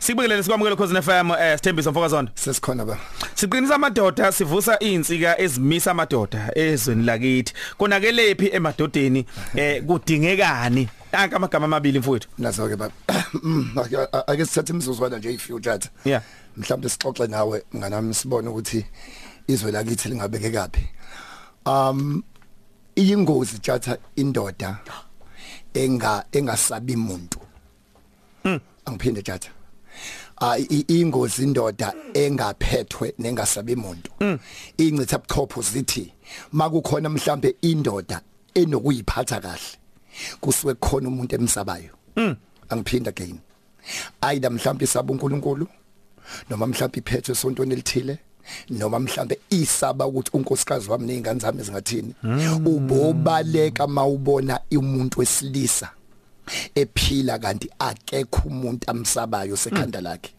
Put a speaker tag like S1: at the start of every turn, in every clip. S1: Sibingelele sikwamukele cause FM eh Sthembiso Mfokazondo.
S2: sesikhona ba
S1: Siqinisa amadoda sivusa insika ezimisa amadoda ezweni lakithi. Konakelephi emadodeni eh kudingekani? Anke amagama amabili mfowethu.
S2: nazo ke ba ake sithathe imizuzwana nje ifuture
S1: Yeah.
S2: mhlawumbe sixoxe nawe nganami sibone ukuthi izwe lakithi lingabeke kapi um iyingozi tjatha indoda enga engasabi umuntu angiphinde tjatha ah i- ingozi indoda engaphethwe nengasabi umuntu incitha buchopho zithi makukhona mhlambe indoda enokuyiphatha kahle kusuke kukhona umuntu emsabayo angiphinda again ayida mhlambe isaba uNkulunkulu noma mhlambe iphethwe esontweni elithile noma mhlambe isaba ukuthi unkosikazi wami nezingane zami zingathini
S1: Hmm.
S2: ubobaleka mawubona umuntu wesilisa ephila kanti akekho umuntu amsabayo sekhanda lakhe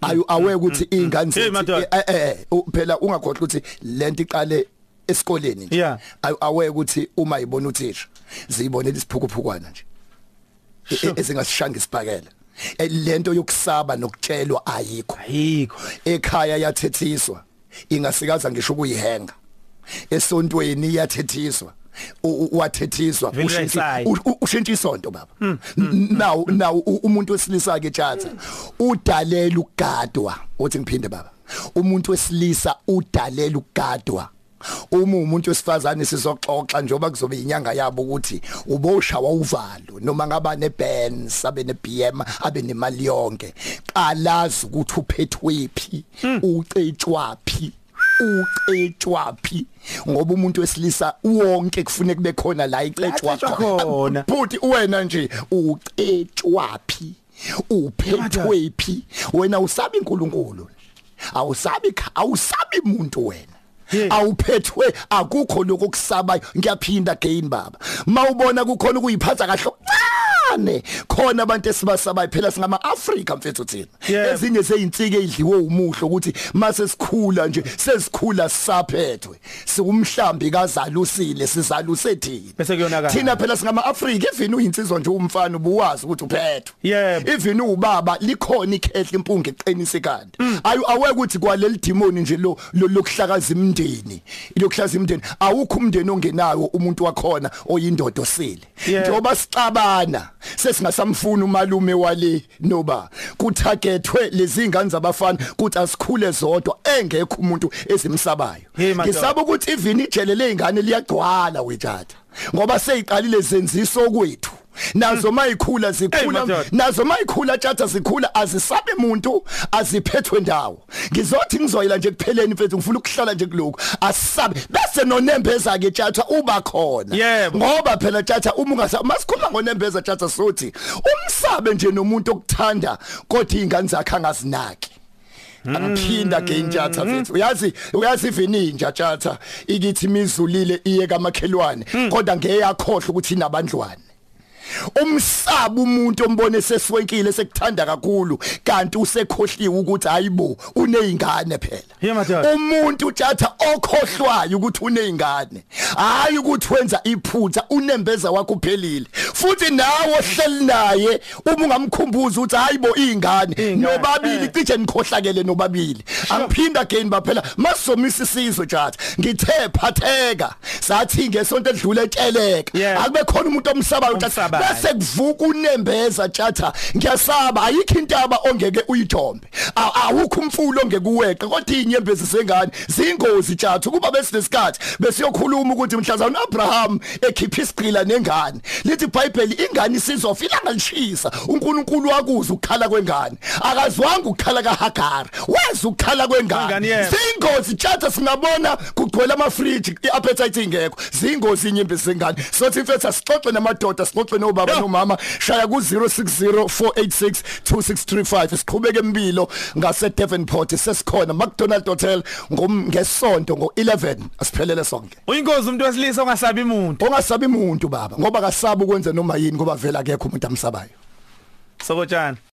S2: ayu aweke ukuthi ingane
S1: Hmm. Hey, madoda.
S2: zethu eh eh u- phela ungakhohlwa ukuthi lento iqale esikoleni nje
S1: Yeah.
S2: Ayu- aweke ukuthi uma ibona uthisha ziyibonela isiphukupukwana nje e- e- ezingasishanga isibhakela Eh, lento yokusaba nokutshelwa ayikho
S1: Ayikho.
S2: ekhaya yathethiswa ingasikaza ngisho ukuyihenga esontweni yathethiswa u- u- wathethiswa
S1: Vele
S2: Ushintshe-
S1: uyayisayi.
S2: u- u- ushintshe isonto baba now now u- umuntu wesilisa ke tjatha udalela ukugadwa uthi ngiphinde baba umuntu wesilisa udalela ukugadwa uma umuntu wesifazane sizoxoxa njoba kuzobe inyanga yabo ukuthi uboshawa uvalo noma ngaba nebenz abe neBM abe nemali yonke qalaza ukuthi uphethwe phi ucetshwa phi ucetshwa phi ngoba umuntu wesilisa wonke kufuneka kube khona la icetshwa
S1: Acetshwa khona.
S2: buthi wena nje ucetshwa phi uphethwe phi wena usabi inkulunkulu awusabi kha- awusabi umuntu wena
S1: Yeah.
S2: awuphethwe akukho lokho kusabayo ngiyaphinda again baba mawubona kukhona ukuyiphatha kahle ane khona abantu esibasabayo phela singama Africa mfethu thina
S1: Yeah.
S2: ezinye zeyinsike edliwe umuhlo ukuthi mase sikhula nje sesikhula sisaphethwe siumhlambi kazalusile sizaluse thina
S1: Bese kuyonakala.
S2: thina phela singama Africa even uyinsizwa nje umfana ubuwazi ukuthi uphethwe
S1: Yebo.
S2: even ubaba likhona ikhehle impunga eqinisa ikhanda
S1: Mm.
S2: ayu aweke ukuthi kwaleli demoni nje lo lo- lokuhlakaza imndeni lokuhlaza imndeni awukho umndeni ongenayo umuntu wakhona oyindodo sile
S1: Yeah.
S2: njoba sicabana sesingasamfuna umalume wale noba kuthagethwe lezi ngane zabafana kuthi asikhule zodwa engekho umuntu ezimsabayo
S1: Hey, madoda.
S2: ngisaba ukuthi even ijele leingane liyagcwala wethatha ngoba seyiqalile zenziso kwethu
S1: Hmm.
S2: nazo mayikhula zikhula
S1: madoda.
S2: nazo mayikhula tjata zikhula azisabe umuntu aziphethwe ndawo ngizothi ngizoyila nje kupheleni mfethu ngifuna ukuhlala nje kuloko asisabe bese nonembeza ke tjata uba khona
S1: Yebo.
S2: ngoba phela tjata uma ungasa masikhuluma ngonembeza tjata sothi umsabe nje nomuntu okuthanda kodwa izingane zakhe angazinaki angiphinda again tjatha mfethu uyazi uyazi ivininja tjatha ikithi imizulile iye kamakhelwane kodwa ngeyakhohle ukuthi inabandlwane umsaba umuntu ombone sesiwenkile sekuthanda kakhulu kanti usekhohliwe ukuthi hayibo uneyingane phela
S1: Yeah, madoda.
S2: umuntu tjatha okhohlwayo ukuthi uneyingane hayi ukuthi wenza iphutha unembeza wakho uphelile futhi nawe ohleli naye uma ungamkhumbuza ukuthi hayibo ingane
S1: Iy'ngane, eh.
S2: nobabili cishe nikhohlakele nobabili angiphinda again baphela masizomisa isizwe tjatha ngithe phatheka sathi ngesonto edlule etsheleka
S1: Yeah.
S2: akube khona umuntu omsabayo tjatha
S1: Omsabayo.
S2: bese sekuvuka unembeza tjatha ngiyasaba ayikho intaba ongeke uyithombe A- awukho umfulo ongeke uweqe kodwa inyembezi zengane zingozi tjatha kuba besinesikhathi besiyokhuluma ukuthi mhlazana uAbraham ekhipha isiqila nengane lithi iBhayibheli ingane isizwa filanga lishisa uNkulunkulu wakuzwa ukukhala kwengane akazwanga ukukhala kaHagar weza ukukhala
S1: Kwengane,
S2: kwengane
S1: yebo.
S2: zingozi tjata singabona kugcwele amafridge iappetite ingekho zingozi inyembezi zengane sothi mfethu asixoxe namadoda sixoxe nobaba nomama shaya ku 0604862635 siqhubeke empilo ngase Devonport sesikhona McDonald Hotel ngom- ngesonto ngo11 asiphelele sonke
S1: Uyingozi umuntu wesilisa ongasabi umuntu.
S2: ongasabi umuntu baba ngoba kasabi ukwenza noma yini ngoba vela akekho umuntu amsabayo
S1: Sokotshana.